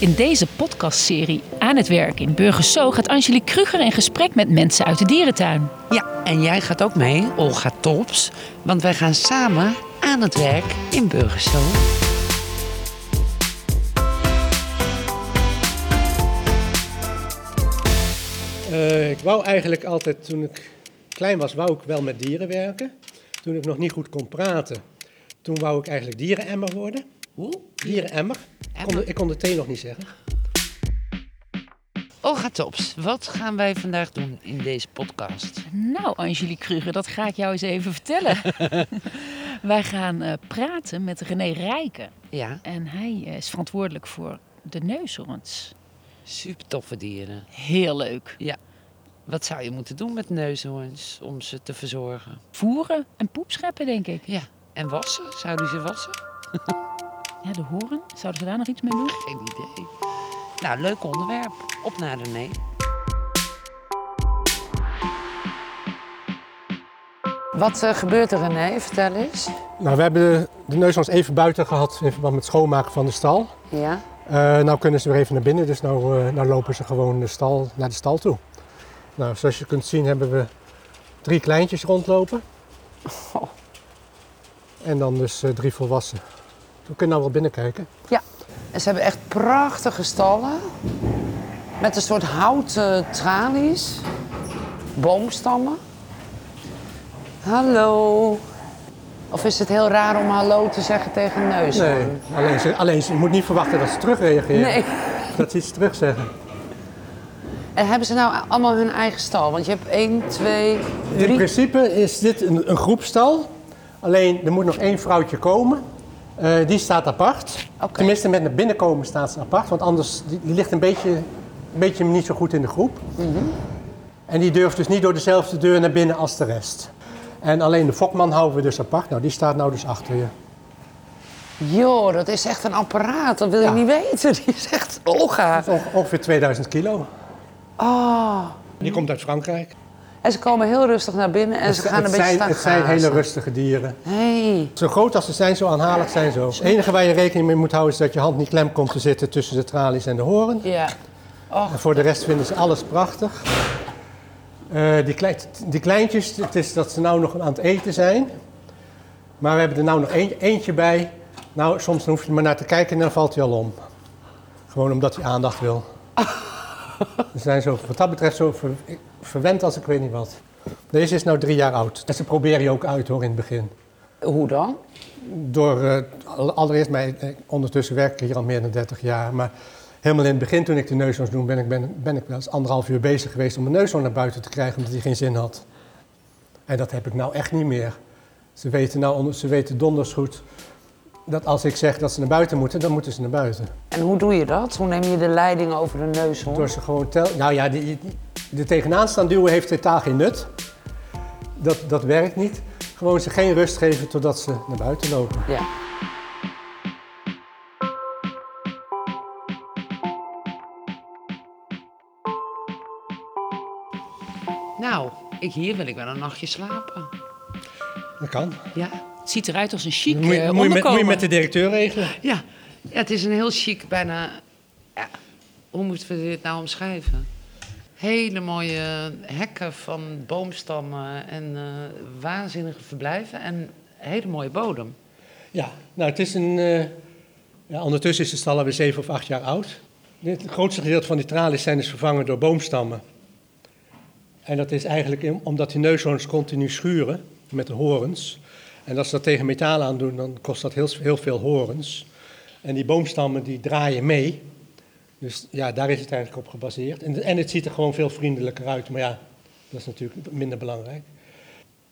In deze podcastserie Aan het Werk in Burgerso gaat Angelique Kruger in gesprek met mensen uit de dierentuin. Ja, en jij gaat ook mee, Olga Tops. Want wij gaan samen aan het werk in Burgerso. Eh, ik wou eigenlijk altijd, toen ik klein was, wou ik wel met dieren werken. Toen ik nog niet goed kon praten, toen wou ik eigenlijk dierenemmer worden. Hoe? Dierenemmer. Ik kon de- ik kon de T nog niet zeggen. Olga Tops, wat gaan wij vandaag doen in deze podcast? Nou, Angelique Kruger, dat ga ik jou eens even vertellen. Wij gaan eh, praten met René Rijken. Ja, En hij eh, is verantwoordelijk voor de neushoorns. super toffe dieren. Heel leuk. Wat zou je moeten doen met neushoorns om ze te verzorgen? Voeren en poepscheppen, denk ik. Ja, en wassen? Zouden ze wassen? Ja, de horen, zouden ze daar nog iets mee doen? Geen idee. Nou, leuk onderwerp. Op naar René. Wat eh, gebeurt er, René? Vertel eens. Nou, we hebben de, de neushoorns even buiten gehad in verband met schoonmaken van de stal. Ja. Eh nou kunnen ze weer even naar binnen, dus nou, eh, nou lopen ze gewoon de stal, naar de stal toe. Nou, zoals je kunt zien hebben we drie kleintjes rondlopen. En dan dus eh, drie volwassen. We kunnen nou wel binnenkijken. En ze hebben echt prachtige stallen. Met een soort houten tralies. Boomstammen. Hallo. Of is het heel raar om hallo te zeggen tegen een neus? Nee, alleen ze, alleen ze- je moet niet verwachten dat ze terugreageren. nee. Dat ze iets terugzeggen. En hebben ze nou allemaal hun eigen stal? Want je hebt één, twee, In drie. principe is dit een, een groepstal. Alleen er moet nog één vrouwtje komen. Eh, die staat apart. Oké. Tenminste, met naar binnenkomen staat ze apart. Want anders die, die ligt een beetje, een beetje niet zo goed in de groep. Mhm. En die durft dus niet door dezelfde deur naar binnen als de rest. En alleen de fokman houden we dus apart. Nou, die staat nou dus achter je. Joh, dat is echt een apparaat. Dat wil je Ja. niet weten. Die is echt Olga. Dat is onge- ongeveer 2000 kilo. Oh. Die komt uit Frankrijk. En ze komen heel rustig naar binnen en ze gaan een het beetje zijn, staan Het zijn hele grazen. rustige dieren. Hey. Zo groot als ze zijn, zo aanhalig zijn ze ook. Het enige waar je rekening mee moet houden is dat je hand niet klem komt te zitten tussen de tralies en de horen. Ja. Och. En voor de rest vinden ze alles prachtig. Eh, die, klei- die kleintjes, het is dat ze nou nog aan het eten zijn. Maar we hebben er nou nog een- eentje bij. Nou, soms hoef je er maar naar te kijken en dan valt hij al om. Gewoon omdat hij aandacht wil. Ze zijn zo, wat dat betreft zo ver- verwend als ik weet niet wat. Deze is nou drie jaar oud. En ze proberen je ook uit hoor in het begin. Hoe dan? Door, eh, al- allereerst, mij, eh, ondertussen werk ik hier al meer dan 30 jaar. Maar helemaal in het begin, toen ik de neushoorns doen, ben ik, ben, ben ik wel eens anderhalf uur bezig geweest om mijn neushoorn naar buiten te krijgen, omdat hij geen zin had. En dat heb ik nou echt niet meer. Ze weten, nou, onder- ze weten donders goed dat als ik zeg dat ze naar buiten moeten, dan moeten ze naar buiten. En hoe doe je dat? Hoe neem je de leiding over de neus Door ze gewoon tel. Nou ja, die, die, de tegenaan staan duwen heeft totaal geen nut. Dat, dat werkt niet. Gewoon ze geen rust geven totdat ze naar buiten lopen. Ja. Nou, ik, hier wil ik wel een nachtje slapen. Dat kan. Ja. Het ziet eruit als een chic Moet eh, je- moet je met- moet onderkomen. je met de directeur regelen. Ja. ja, het is een heel chic, bijna... Ja, hoe moeten we dit nou omschrijven? Hele mooie hekken van boomstammen en eh, waanzinnige verblijven en hele mooie bodem. Ja, nou het is een... eh, ja, ondertussen is de stal alweer zeven of acht jaar oud. Dit- Het grootste gedeelte van die tralies zijn dus vervangen door boomstammen. En dat is eigenlijk in- omdat die neushoorns continu schuren met de horens. En als ze dat tegen metaal aandoen, dan kost dat heel, heel veel horens. En die boomstammen die draaien mee. Dus ja, daar is het eigenlijk op gebaseerd. En, en het ziet er gewoon veel vriendelijker uit. Maar ja, dat is natuurlijk minder belangrijk.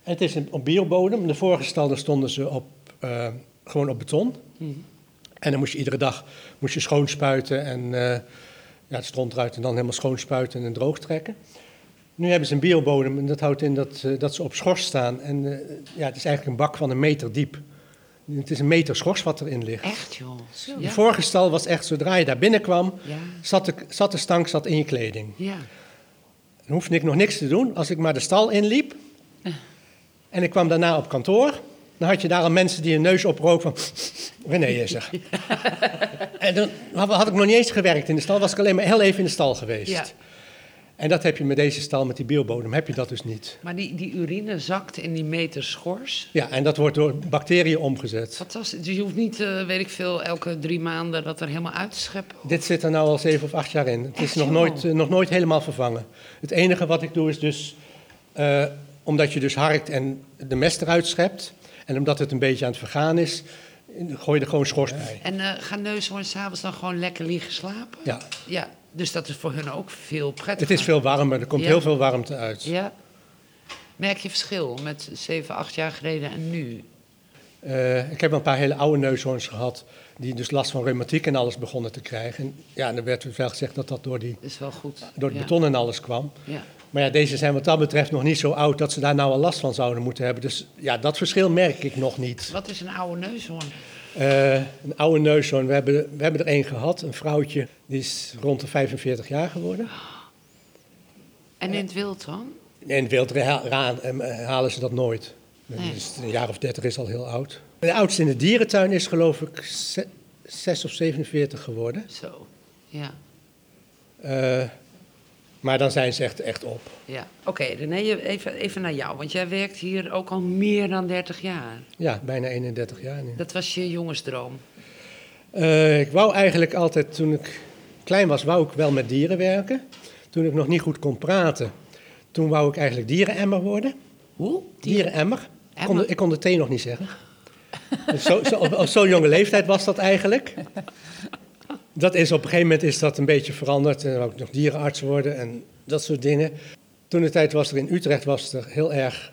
Het is een- op biobodem. De vorige stal daar stonden ze op, eh, gewoon op beton. En dan moest je iedere dag moest je schoonspuiten en eh, ja, het stront eruit en dan helemaal schoonspuiten en droog trekken. Nu hebben ze een biobodem en dat houdt in dat, eh, dat ze op schors staan. En eh, ja, het is eigenlijk een bak van een meter diep. Het is een meter schors wat erin ligt. Echt joh. De Ja. vorige stal was echt, zodra je daar binnenkwam, Ja. zat de, zat de stank zat in je kleding. ja. Dan hoefde ik nog niks te doen als ik maar de stal inliep. En ik kwam daarna op kantoor. Dan had je daar al mensen die hun neus oproken van... René is er. en dan had, had ik nog niet eens gewerkt in de stal. Was ik alleen maar heel even in de stal geweest. Ja. En dat heb je met deze stal, met die biobodem, heb je dat dus niet. Maar die, die urine zakt in die meter schors. Ja, en dat wordt door bacteriën omgezet. Fantastisch. Dus je hoeft niet, eh, weet ik veel, elke drie maanden dat er helemaal uit te scheppen. Dit zit er nou al zeven of acht jaar in. Het is Echt, nog joh? nooit, eh, nog nooit helemaal vervangen. Het enige wat ik doe is dus, eh, omdat je dus harkt en de mest eruit schept, en omdat het een beetje aan het vergaan is, gooi je er gewoon schors bij. En eh gaan neushoorns s'avonds dan gewoon lekker liggen slapen? Ja, Ja, dus dat is voor hun ook veel het prettiger. is veel warmer, er komt Ja. heel veel warmte uit. Ja. Merk je verschil met 7, 8 jaar geleden en nu? Eh, ik heb een paar hele oude neushoorns gehad, die dus last van reumatiek en alles begonnen te krijgen. En ja, dan werd wel gezegd dat dat door, die, Dat is wel goed. door het ja. beton en alles kwam. Ja. Maar ja, deze zijn wat dat betreft nog niet zo oud dat ze daar nou al last van zouden moeten hebben. Dus ja, dat verschil merk ik nog niet. Wat is een oude neushoorn? Eh, een oude neushoorn. We hebben, we hebben er één gehad, een vrouwtje. Die is rond de 45 jaar geworden. En in het wild dan? In het wild ra- ra- em, eh, halen ze dat nooit. Nee. Dus een jaar of 30 is al heel oud. De oudste in de dierentuin is geloof ik 6 of 47 geworden. Zo. Ja. Eh, maar dan zijn ze echt, echt op. ja. Oké, René, je- even, even naar jou. Want jij werkt hier ook al meer dan 30 jaar. Ja, bijna 31 jaar nu. Dat was je jongensdroom. Eh, ik wou eigenlijk altijd, toen ik klein was, wou ik wel met dieren werken. Toen ik nog niet goed kon praten, toen wou ik eigenlijk dierenemmer worden. Hoe? Dierenemmer. Ik kon, de, Emmer? ik kon de T nog niet zeggen. Dus zo, zo, op, op zo'n jonge leeftijd was dat eigenlijk. Dat is op een gegeven moment is dat een beetje veranderd. En dan wou ik nog dierenarts worden en dat soort dingen. Toen de tijd was er in Utrecht was er heel erg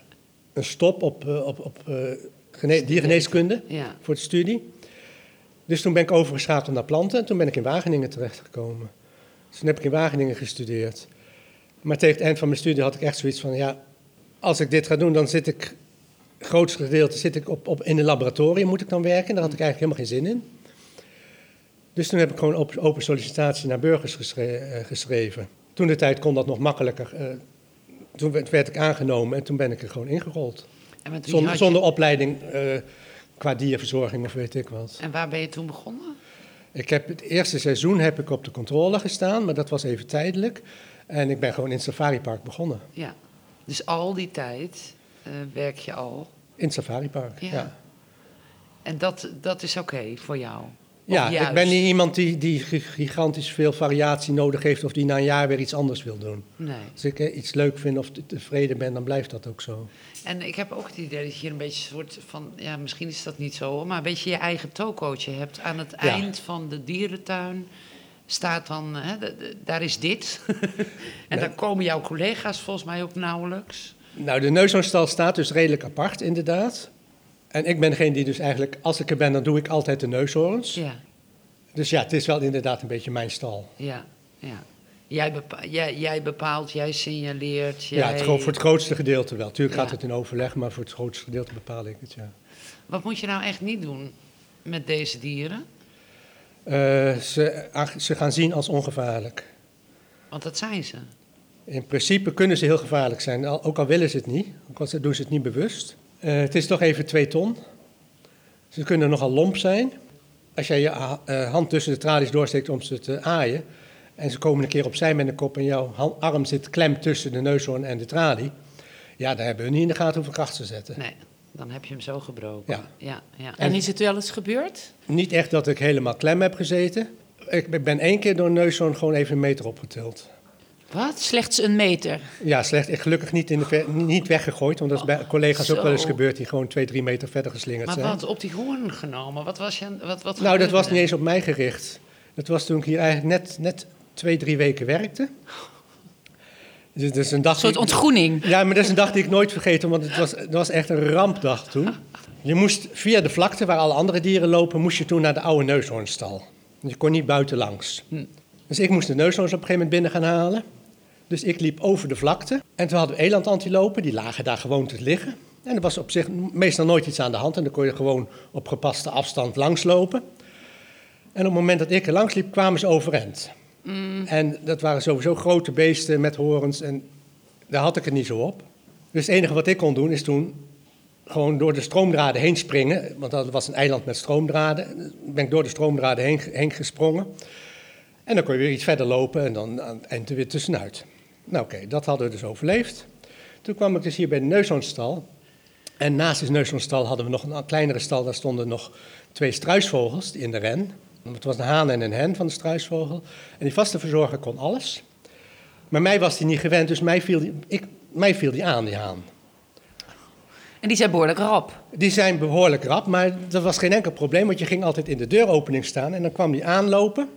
een stop op, eh, op, op eh, gene- diergeneeskunde Ja. voor de studie. Dus toen ben ik overgeschakeld naar planten en toen ben ik in Wageningen terechtgekomen. Dus toen heb ik in Wageningen gestudeerd. Maar tegen het eind van mijn studie had ik echt zoiets van, ja, als ik dit ga doen, dan zit ik, grootste gedeelte zit ik op, op, in een laboratorium moet ik dan werken. Daar had ik eigenlijk helemaal geen zin in. Dus toen heb ik gewoon open, open sollicitatie naar burgers geschre- eh, geschreven. Toen de tijd kon dat nog makkelijker. eh, toen werd, werd ik aangenomen en toen ben ik er gewoon ingerold. En, met wie Zonder, had je- zonder opleiding eh, qua dierverzorging of weet ik wat. en waar ben je toen begonnen? Ik heb het eerste seizoen heb ik op de controle gestaan, maar dat was even tijdelijk. En ik ben gewoon in het safaripark begonnen. Ja. Dus al die tijd eh, werk je al. In het safaripark, Ja. ja. En dat, dat is oké voor jou. Ja, Of juist. ik ben niet iemand die, die gi- gigantisch veel variatie nodig heeft of die na een jaar weer iets anders wil doen. Nee. Als ik eh, iets leuk vind of te- tevreden ben, dan blijft dat ook zo. En ik heb ook het idee dat je hier een beetje een soort van, ja, misschien is dat niet zo, hoor, maar een beetje je eigen tokootje hebt. Aan het eind van de dierentuin staat dan, hè, de- de- daar is dit. en daar komen jouw collega's volgens mij op nauwelijks. Nou, de neushoornstal staat dus redelijk apart, inderdaad. En ik ben degene die dus eigenlijk, als ik er ben, dan doe ik altijd de neushoorns. Ja, Dus ja, het is wel inderdaad een beetje mijn stal. ja, ja. Jij, bepa- jij, jij bepaalt, jij signaleert. Jij... Ja, het gro- voor het grootste gedeelte wel. Tuurlijk Ja. gaat het in overleg, maar voor het grootste gedeelte bepaal ik het, ja. Wat moet je nou echt niet doen met deze dieren? Eh, ze, ach- ze gaan zien als ongevaarlijk. Want dat zijn ze. In principe kunnen ze heel gevaarlijk zijn, al- ook al willen ze het niet. Ook al ze- doen ze het niet bewust. Eh, het is toch even twee ton. Ze kunnen nogal lomp zijn. Als jij je ha- eh, hand tussen de tralies doorsteekt om ze te aaien... en ze komen een keer opzij met een kop en jouw hand- arm zit klem tussen de neushoorn en de tralie... ja, daar hebben we niet in de gaten hoeveel kracht ze zetten. Nee, dan heb je hem zo gebroken. Ja. ja, ja. En is het wel eens gebeurd? Niet echt dat ik helemaal klem heb gezeten. Ik ben één keer door een neushoorn gewoon even een meter opgetild. Wat? Slechts een meter. Ja, slecht. Ik gelukkig niet, in de ver- niet weggegooid, want dat is bij collega's Oh, zo. ook wel eens gebeurd die gewoon twee, drie meter verder geslingerd Maar zijn. wat, op die hoorn genomen? Wat was je, wat, wat Nou, dat gebeurde was er? niet eens op mij gericht. Dat was toen ik hier eigenlijk net, net twee, drie weken werkte. Dus dat is een dag. Een soort die- ontgroening. Ja, maar dat is een dag die ik nooit vergeten, want het was, het was echt een rampdag toen. Je moest via de vlakte waar alle andere dieren lopen, moest je toen naar de oude neushoornstal. Je kon niet buiten langs. Dus ik moest de neushoorns op een gegeven moment binnen gaan halen. Dus ik liep over de vlakte. En toen hadden we elandantilopen, die lagen daar gewoon te liggen. En er was op zich meestal nooit iets aan de hand. En dan kon je gewoon op gepaste afstand langslopen. En op het moment dat ik er langs liep, kwamen ze overeind. En dat waren sowieso grote beesten met horens. En daar had ik het niet zo op. Dus het enige wat ik kon doen is toen gewoon door de stroomdraden heen springen. Want dat was een eiland met stroomdraden. Ben ik door de stroomdraden heen, heen gesprongen. En dan kon je weer iets verder lopen en dan aan het eind er weer tussenuit. Nou oké, dat hadden we dus overleefd. Toen kwam ik dus hier bij de Neushoornstal. En naast de Neushoornstal hadden we nog een kleinere stal. Daar stonden nog twee struisvogels in de ren. Het was een haan en een hen van de struisvogel. En die vaste verzorger kon alles. Maar mij was die niet gewend, dus mij viel die, ik, mij viel die aan, die haan. En die zijn behoorlijk rap. Die zijn behoorlijk rap, maar dat was geen enkel probleem, want je ging altijd in de deuropening staan en dan kwam die aanlopen.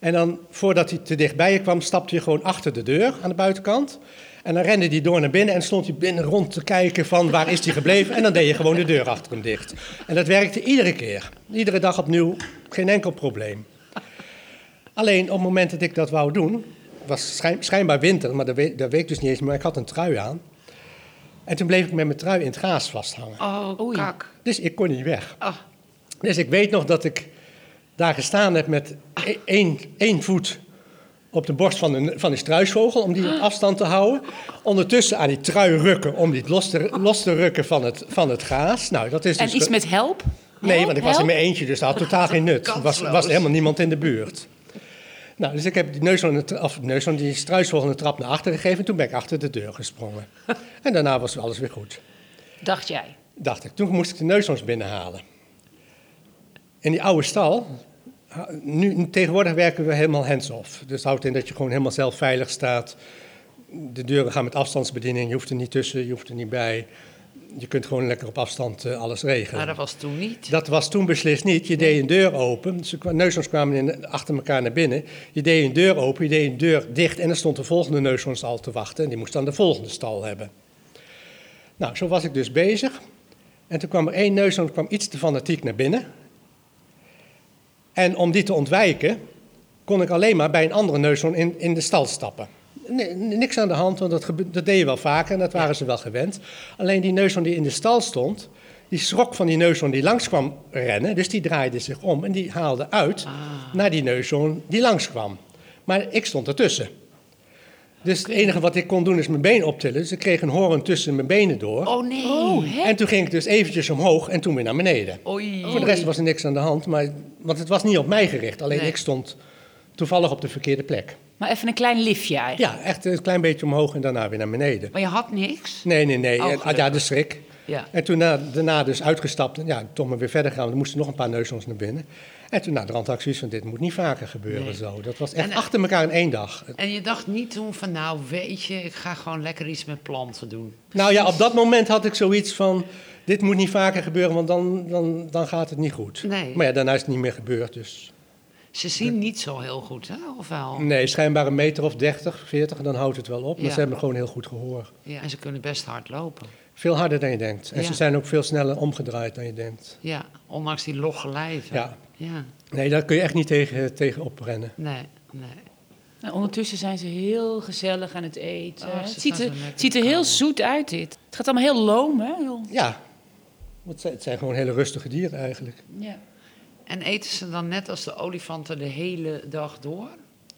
En dan, voordat hij te dichtbij je kwam, stapte je gewoon achter de deur aan de buitenkant. En dan rende die door naar binnen en stond hij binnen rond te kijken van waar is die gebleven. En dan deed je gewoon de deur achter hem dicht. En dat werkte iedere keer. Iedere dag opnieuw, geen enkel probleem. Alleen op het moment dat ik dat wou doen, was schijn- schijnbaar winter, maar dat weet, dat weet ik dus niet eens, maar ik had een trui aan. En toen bleef ik met mijn trui in het gaas vasthangen. Oh, Oei. kak. Dus ik kon niet weg. Ah. Dus ik weet nog dat ik daar gestaan heb met e- één, één voet op de borst van een, van een struisvogel, om die op afstand te houden. Ondertussen aan die trui rukken, om die los te, los te rukken van het, van het gaas. Nou, dat is En dus iets ge- met help? Nee, Help, want ik was in help? mijn eentje, dus dat had totaal geen nut. Er was, Kansloos. was helemaal niemand in de buurt. Nou, dus ik heb die neus van de, tra- of neus van die struisvogel een trap naar achter gegeven. En toen ben ik achter de deur gesprongen. En daarna was alles weer goed Dacht jij. dacht ik. Toen moest ik de neushoorns binnenhalen. In die oude stal, ha- nu, nu- tegenwoordig werken we helemaal hands-off. Dus houdt in dat je gewoon helemaal zelf veilig staat. De deuren gaan met afstandsbediening, je hoeft er niet tussen, je hoeft er niet bij. Je kunt gewoon lekker op afstand eh, alles regelen. Maar nou, dat was toen niet. Dat was toen beslist niet. Je deed een deur open. Ze kwa- neushoorns kwamen in, achter elkaar naar binnen. Je deed een deur open, je deed een deur dicht. En er stond de volgende neushoorns al te wachten. En die moest dan de volgende stal hebben. Nou, zo was ik dus bezig. En toen kwam er één neushoorn kwam iets te fanatiek naar binnen. En om die te ontwijken, kon ik alleen maar bij een andere neushoorn in, in de stal stappen. Nee, niks aan de hand, want dat, gebe- dat deed je wel vaker en dat waren ze wel gewend. Alleen die neushoorn die in de stal stond, die schrok van die neushoorn die langs kwam rennen. Dus die draaide zich om en die haalde uit naar die neushoorn die langskwam. Maar ik stond ertussen. Dus het enige wat ik kon doen is mijn been optillen. Dus ik kreeg een hoorn tussen mijn benen door. Oh nee. Oh, hè? En toen ging ik dus eventjes omhoog en toen weer naar beneden. Oei. Oh, Voor de rest was er niks aan de hand, maar, want het was niet op mij gericht. Alleen Nee. ik stond toevallig op de verkeerde plek. Maar even een klein liftje eigenlijk. Ja, echt een klein beetje omhoog en daarna weer naar beneden. Maar je had niks? Nee, nee, nee. Oh, En- ah, gelukkig. ja, de schrik. Ja. En toen na- daarna dus uitgestapt en ja, toch maar weer verder gaan. Want er moesten nog een paar neushoorns naar binnen. En toen na de rand van dit moet niet vaker gebeuren Nee. zo. Dat was echt En- achter elkaar in één dag. En je dacht niet toen van, nou weet je, ik ga gewoon lekker iets met planten doen. Nou ja, op dat moment had ik zoiets van, dit moet niet vaker gebeuren, want dan, dan, dan gaat het niet goed. Nee. Maar ja, daarna is het niet meer gebeurd, dus... Ze zien niet zo heel goed, hè? Of wel? Nee, schijnbaar een meter of 30, 40, dan houdt het wel op. Maar Ja. ze hebben gewoon heel goed gehoor. Ja, en ze kunnen best hard lopen. Veel harder dan je denkt. En Ja. ze zijn ook veel sneller omgedraaid dan je denkt. Ja, ondanks die logge lijven. Ja, Ja, nee, daar kun je echt niet tegen, eh, tegen oprennen. nee, nee. Nou, ondertussen zijn ze heel gezellig aan het eten. Oh, ze het ziet gaan er, zo lekker het ziet er heel kauwen. zoet uit dit. Het gaat allemaal heel loom, hè? Heel- Ja, want ze- het zijn gewoon hele rustige dieren eigenlijk. Ja. En eten ze dan net als de olifanten de hele dag door?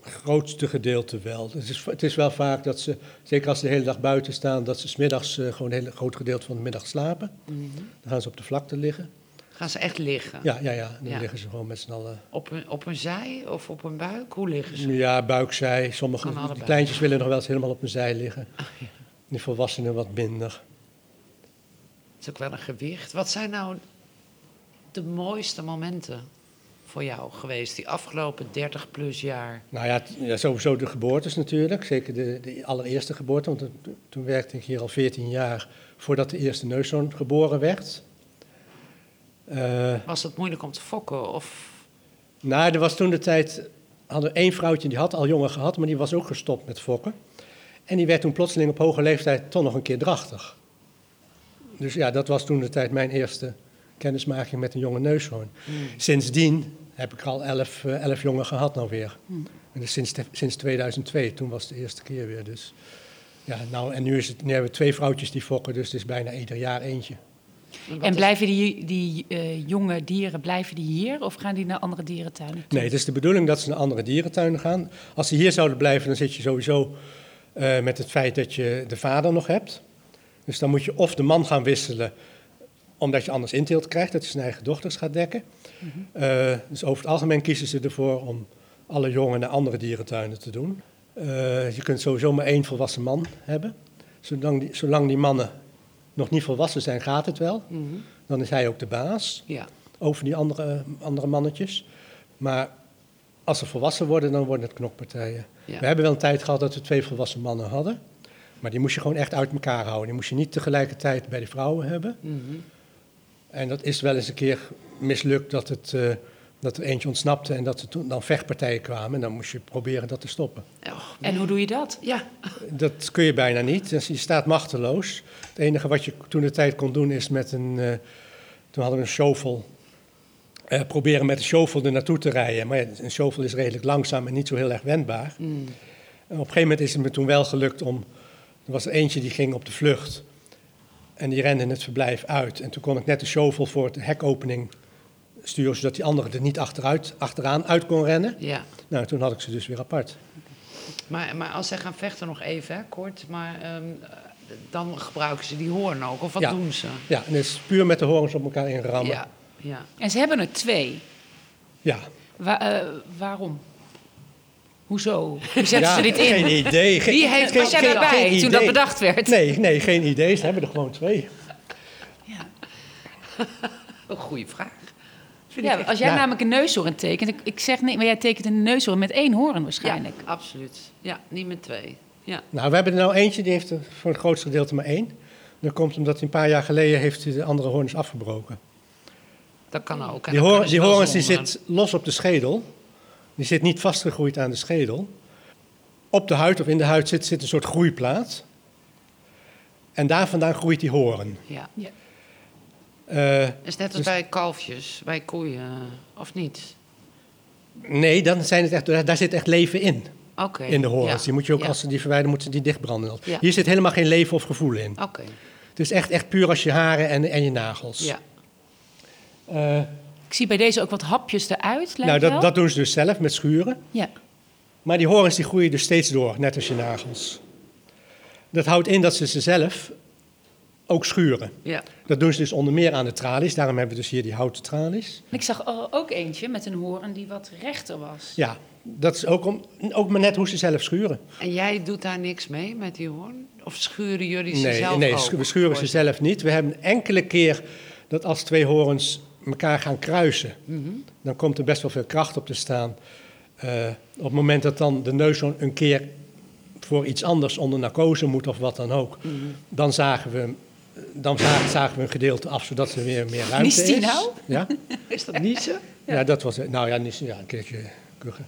Grootste gedeelte wel. Het is, het is wel vaak dat ze, zeker als ze de hele dag buiten staan, dat ze smiddags eh, gewoon een hele groot gedeelte van de middag slapen. Dan gaan ze op de vlakte liggen. Gaan ze echt liggen? Ja, ja, ja. Dan Mhm. Ja. liggen ze gewoon met z'n allen. Op, hun, op hun zij of op hun buik? Hoe liggen ze? Dus- Ja, buikzij. Aan Sommige allebei. kleintjes willen nog wel eens helemaal op hun zij liggen. De volwassenen wat minder. Het is ook wel een gewicht. Wat zijn nou de mooiste momenten voor jou geweest die afgelopen 30 plus jaar? Nou ja, t- ja, sowieso de geboortes natuurlijk. Zeker de, de allereerste geboorte. Want toen- toen werkte ik hier al 14 jaar voordat de eerste neuszoon geboren werd. Eh, Was het moeilijk om te fokken? Of... nou, er was toen de tijd. hadden we één vrouwtje die had al jongen gehad, maar die was ook gestopt met fokken. En die werd toen plotseling op hoge leeftijd toch nog een keer drachtig. Dus ja, dat was toen de tijd mijn eerste kennismaking met een jonge neushoorn. Sindsdien heb ik al elf, eh, elf jongen gehad nou weer. En dus sinds, te- sinds 2002, toen was het de eerste keer weer. Dus. Ja, nou, en nu, is het, nu hebben we twee vrouwtjes die fokken, dus het is bijna ieder jaar eentje. Wat En is- blijven die, die eh, jonge dieren blijven die hier of gaan die naar andere dierentuinen? Nee, het is de bedoeling dat ze naar andere dierentuinen gaan. Als ze hier zouden blijven, dan zit je sowieso eh, met het feit dat je de vader nog hebt. Dus dan moet je of de man gaan wisselen Omdat je anders inteelt krijgt, dat je zijn eigen dochters gaat dekken. Eh, dus over het algemeen kiezen ze ervoor om alle jongen naar andere dierentuinen te doen. Eh, je kunt sowieso maar één volwassen man hebben. Zolang die, zolang die mannen nog niet volwassen zijn, gaat het wel. Mhm. Dan is hij ook de baas Ja. over die andere, andere mannetjes. Maar als ze volwassen worden, dan worden het knokpartijen. Ja. We hebben wel een tijd gehad dat we twee volwassen mannen hadden. Maar die moest je gewoon echt uit elkaar houden. Die moest je niet tegelijkertijd bij de vrouwen hebben. Mhm. En dat is wel eens een keer mislukt dat, het, eh, dat er eentje ontsnapte en dat er toen dan vechtpartijen kwamen. En dan moest je proberen dat te stoppen. Och, En hoe doe je dat? Oh, ja. Dat kun je bijna niet. Dus je staat machteloos. Het enige wat je toen de tijd kon doen is met een. eh, toen hadden we een shovel. Eh, proberen met de shovel er naartoe te rijden. Maar ja, een shovel is redelijk langzaam en niet zo heel erg wendbaar. En op een gegeven moment is het me toen wel gelukt om. Er was er eentje die ging op de vlucht. En die rende het verblijf uit. En toen kon ik net de shovel voor de hekopening sturen. zodat die andere er niet achteruit, achteraan uit kon rennen. ja. Nou, toen had ik ze dus weer apart. Maar, maar als zij gaan vechten nog even, hè, kort, maar ehm, dan gebruiken ze die hoorn ook. Of wat Ja. doen ze? Ja, en dat is puur met de horens op elkaar inrammen. Ja, ja. En ze hebben er twee. Ja. Wa- eh, waarom? Hoezo? Hoe zetten ja, ze dit in? Geen idee. Geen, Wie heeft, geen- was jij geen- daarbij geen toen dat idee. bedacht werd? Nee, nee, geen idee. Ze hebben er gewoon twee. Ja. Een goede vraag. Vind Ja, ik echt- als jij Ja. namelijk een neushoorn tekent, ik, ik zeg nee, maar jij tekent een neushoorn met één hoorn waarschijnlijk. Ja, absoluut. Ja, niet met twee. Ja. Nou, we hebben er nou eentje, die heeft er voor het grootste gedeelte maar één. Dat komt omdat hij een paar jaar geleden heeft hij de andere hoorns afgebroken. Dat kan ook. En Die, dan hoor, kunnen ze die wel horens die zonder. zit los op de schedel. Die zit niet vastgegroeid aan de schedel. Op de huid of in de huid zit, zit een soort groeiplaat. En daar vandaan groeit die horen. Ja. Eh, Is net als Dus- bij kalfjes, bij koeien, of niet? nee, dan zijn het echt, daar daar zit echt leven in. Oké. in de horens. Ja, Die moet je ook, ja. als ze die verwijderen, moeten die dichtbranden. Ja. Hier zit helemaal geen leven of gevoel in. Oké. Het is echt, echt puur als je haren en, en je nagels. Ja. Eh, Ik zie bij deze ook wat hapjes eruit. nou, Lijkt wel. dat, dat doen ze dus zelf met schuren. Ja. Maar die horens die groeien dus steeds door, net als je nagels. Dat houdt in dat ze ze zelf ook schuren. Ja. Dat doen ze dus onder meer aan de tralies. Daarom hebben we dus hier die houten tralies. Ik zag er ook eentje met een hoorn die wat rechter was. Ja, dat is ook, om, ook maar net hoe ze zelf schuren. En jij doet daar niks mee met die hoorn? Of schuren jullie ze Nee, zelf nee ook? schu- we schuren ze zelf niet. We hebben enkele keer dat als twee horens elkaar gaan kruisen, Mhm. dan komt er best wel veel kracht op te staan. Eh, op het moment dat dan de neushoorn een keer voor iets anders onder narcose moet of wat dan ook, Mhm. dan zagen we hem- Dan za- zagen we een gedeelte af, zodat er weer meer ruimte Niest die is. nou? Ja? Is dat niet zo? Ja. dat was het. Nou ja, niet, ja, een keertje kuchen.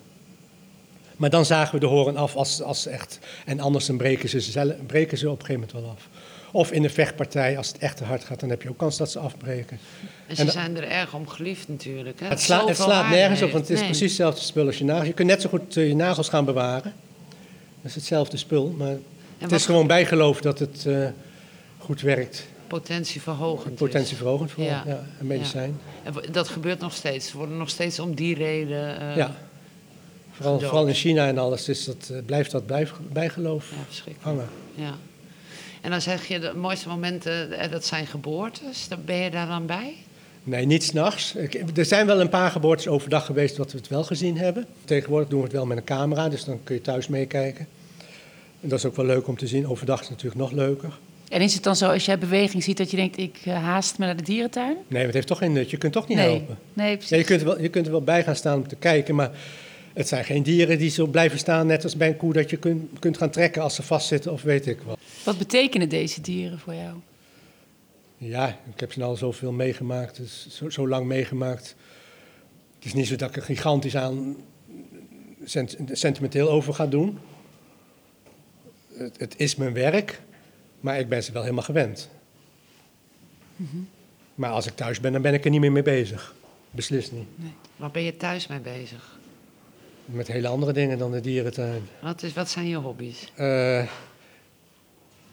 Maar dan zagen we de horen af als, als echt. En anders dan breken ze, zelf, breken ze op een gegeven moment wel af. Of in een vechtpartij, als het echt te hard gaat, dan heb je ook kans dat ze afbreken. En En ze dat- zijn er erg om geliefd natuurlijk. Hè? Het, sla, het Zoveel slaat waarde nergens op, heeft. want het is Nee. precies hetzelfde spul als je nagels. Je kunt net zo goed eh, je nagels gaan bewaren. Dat is hetzelfde spul, maar het wat- is gewoon bijgeloof dat het eh, goed werkt. Potentieverhogend. is. Potentieverhogend voor Ja. ja. een medicijn. En w- dat gebeurt nog steeds. Ze worden nog steeds om die reden... eh, Ja. Vooral, gedood. vooral in China en alles is dat, eh, blijft dat bij, bijgeloof ja, verschrikkelijk. hangen. Ja. En dan zeg je, de mooiste momenten, eh, dat zijn geboortes. Dan ben je daar dan bij? Nee, niet s'nachts. Er zijn wel een paar geboortes overdag geweest wat we het wel gezien hebben. Tegenwoordig doen we het wel met een camera, dus dan kun je thuis meekijken. En dat is ook wel leuk om te zien. Overdag is het natuurlijk nog leuker. En is het dan zo als jij beweging ziet dat je denkt ik eh, haast me naar de dierentuin? Nee, maar het heeft toch geen nut. Je kunt toch niet nee. helpen. Nee, Ja, precies. je, kunt er wel, je kunt er wel bij gaan staan om te kijken, maar het zijn geen dieren die zo blijven staan, net als bij een koe, dat je kunt, kunt gaan trekken als ze vastzitten of weet ik wat. Wat betekenen deze dieren voor jou? Ja, ik heb ze al zoveel meegemaakt, dus zo, zo lang meegemaakt. Het is niet zo dat ik er gigantisch aan sent- sentimenteel over ga doen. Het, het is mijn werk, maar ik ben ze wel helemaal gewend. Maar als ik thuis ben, dan ben ik er niet meer mee bezig. Beslist niet. Waar ben je thuis mee bezig? Met hele andere dingen dan de dierentuin. Wat, is, wat zijn je hobby's? Eh,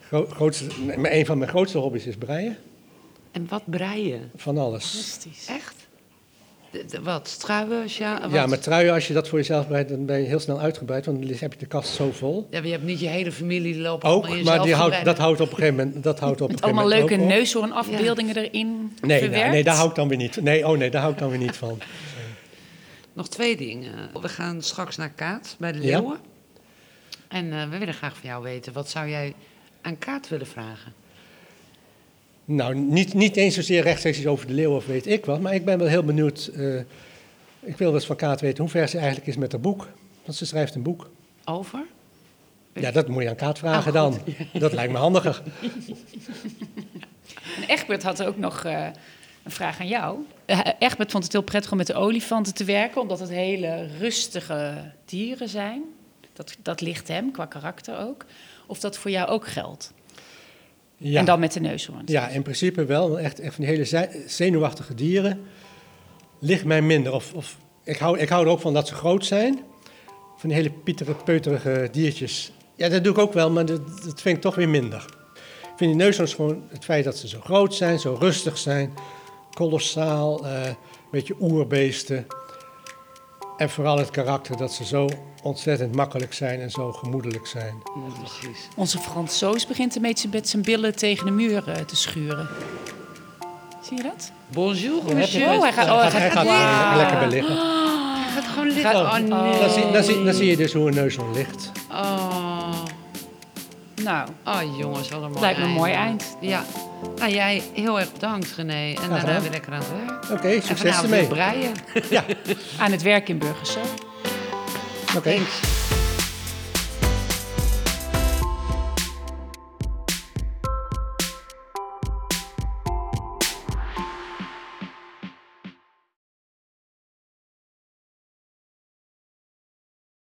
gro- grootste, nee, maar een van mijn grootste hobby's is breien. En wat breien? Van alles. Fantastisch. Echt? De- de- Wat, struiwers? Ja, wat? Ja, maar truien, als je dat voor jezelf breidt, dan ben je heel snel uitgebreid, want dan heb je de kast zo vol. Ja, maar je hebt niet je hele familie die lopen allemaal in Ook, jezelf maar die houdt, gebreid. dat houdt op een gegeven moment. Dat houdt op een Met gegeven allemaal moment leuke ook op. neushoornafbeeldingen erin Nee, nou, verwerkt. nee, nee, daar hou ik dan weer niet. Nee, oh nee, daar hou ik dan weer niet van. Nog twee dingen. We gaan straks naar Kaat bij de Ja. Leeuwen. En eh, we willen graag van jou weten, wat zou jij aan Kaat willen vragen? Nou, niet, niet eens zozeer rechtstreeks iets over de leeuw of weet ik wat, maar ik ben wel heel benieuwd. eh, ik wil wel eens van Kaat weten hoe ver ze eigenlijk is met haar boek. Want ze schrijft een boek. Over? Ja, dat moet je aan Kaat vragen Ah, dan. Dat lijkt me handiger. En Egbert had ook nog eh, een vraag aan jou. Eh, Egbert vond het heel prettig om met de olifanten te werken, omdat het hele rustige dieren zijn. Dat, dat ligt hem, qua karakter ook. Of dat voor jou ook geldt. Ja. En dan met de neushoorn. Ja, in principe wel. want Echt, echt van die hele ze- zenuwachtige dieren ligt mij minder. Of, of, ik, hou, ik hou er ook van dat ze groot zijn. Van die hele pietere, peuterige diertjes. Ja, dat doe ik ook wel, maar dat, dat vind ik toch weer minder. Ik vind die neushoorns gewoon het feit dat ze zo groot zijn, zo rustig zijn. Kolossaal, eh, een beetje oerbeesten. En vooral het karakter dat ze zo ontzettend makkelijk zijn en zo gemoedelijk zijn. Ja, precies. Onze Fransoos begint een beetje met zijn billen tegen de muur eh, te schuren. Zie je dat? Bonjour, heb je- monsieur. Oh, hij gaat- oh, Hij gaat er lekker bij liggen. Hij gaat gewoon liggen. Oh, Oh, nee. Dan, zie, dan, zie, dan zie je dus hoe een neushoorn ligt. Oh, Nou, oh jongens, wat een mooi Lijkt me een mooi eind. Ja. Nou, jij heel erg bedankt, René. En daarna gedaan. weer lekker aan het werk. Oké, En succes vanavond weer ermee. breien. Ja, aan het werk in Burgers. hè? oké. Thanks.